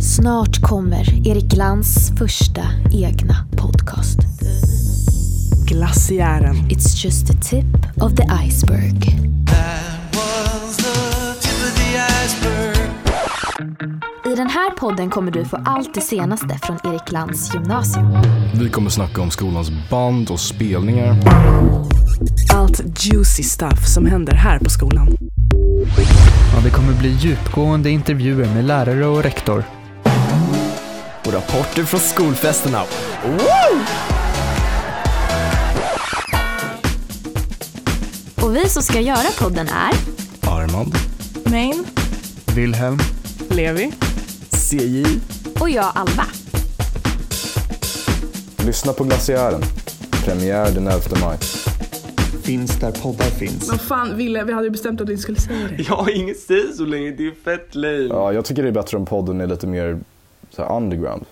Snart kommer Erik Lans första egna podcast. Glaciären. It's just the tip of the iceberg. I den här podden kommer du få allt det senaste från Erik Lans gymnasium. Vi kommer snacka om skolans band och spelningar. Allt juicy stuff som händer här på skolan. Ja, det kommer bli djupgående intervjuer med lärare och rektor. Och rapporter från skolfesterna. Och vi som ska göra podden är Armand. Main. Wilhelm. Levi. CJ. och jag Alva. Lyssna på Glaciären. Premiär den 11 maj. finns där poddar finns. Vad fan Ville, vi hade ju bestämt att du inte skulle säga det. Jag har inget säg så länge, det är fett lame. Ja, jag tycker det är bättre om podden är lite mer så här underground.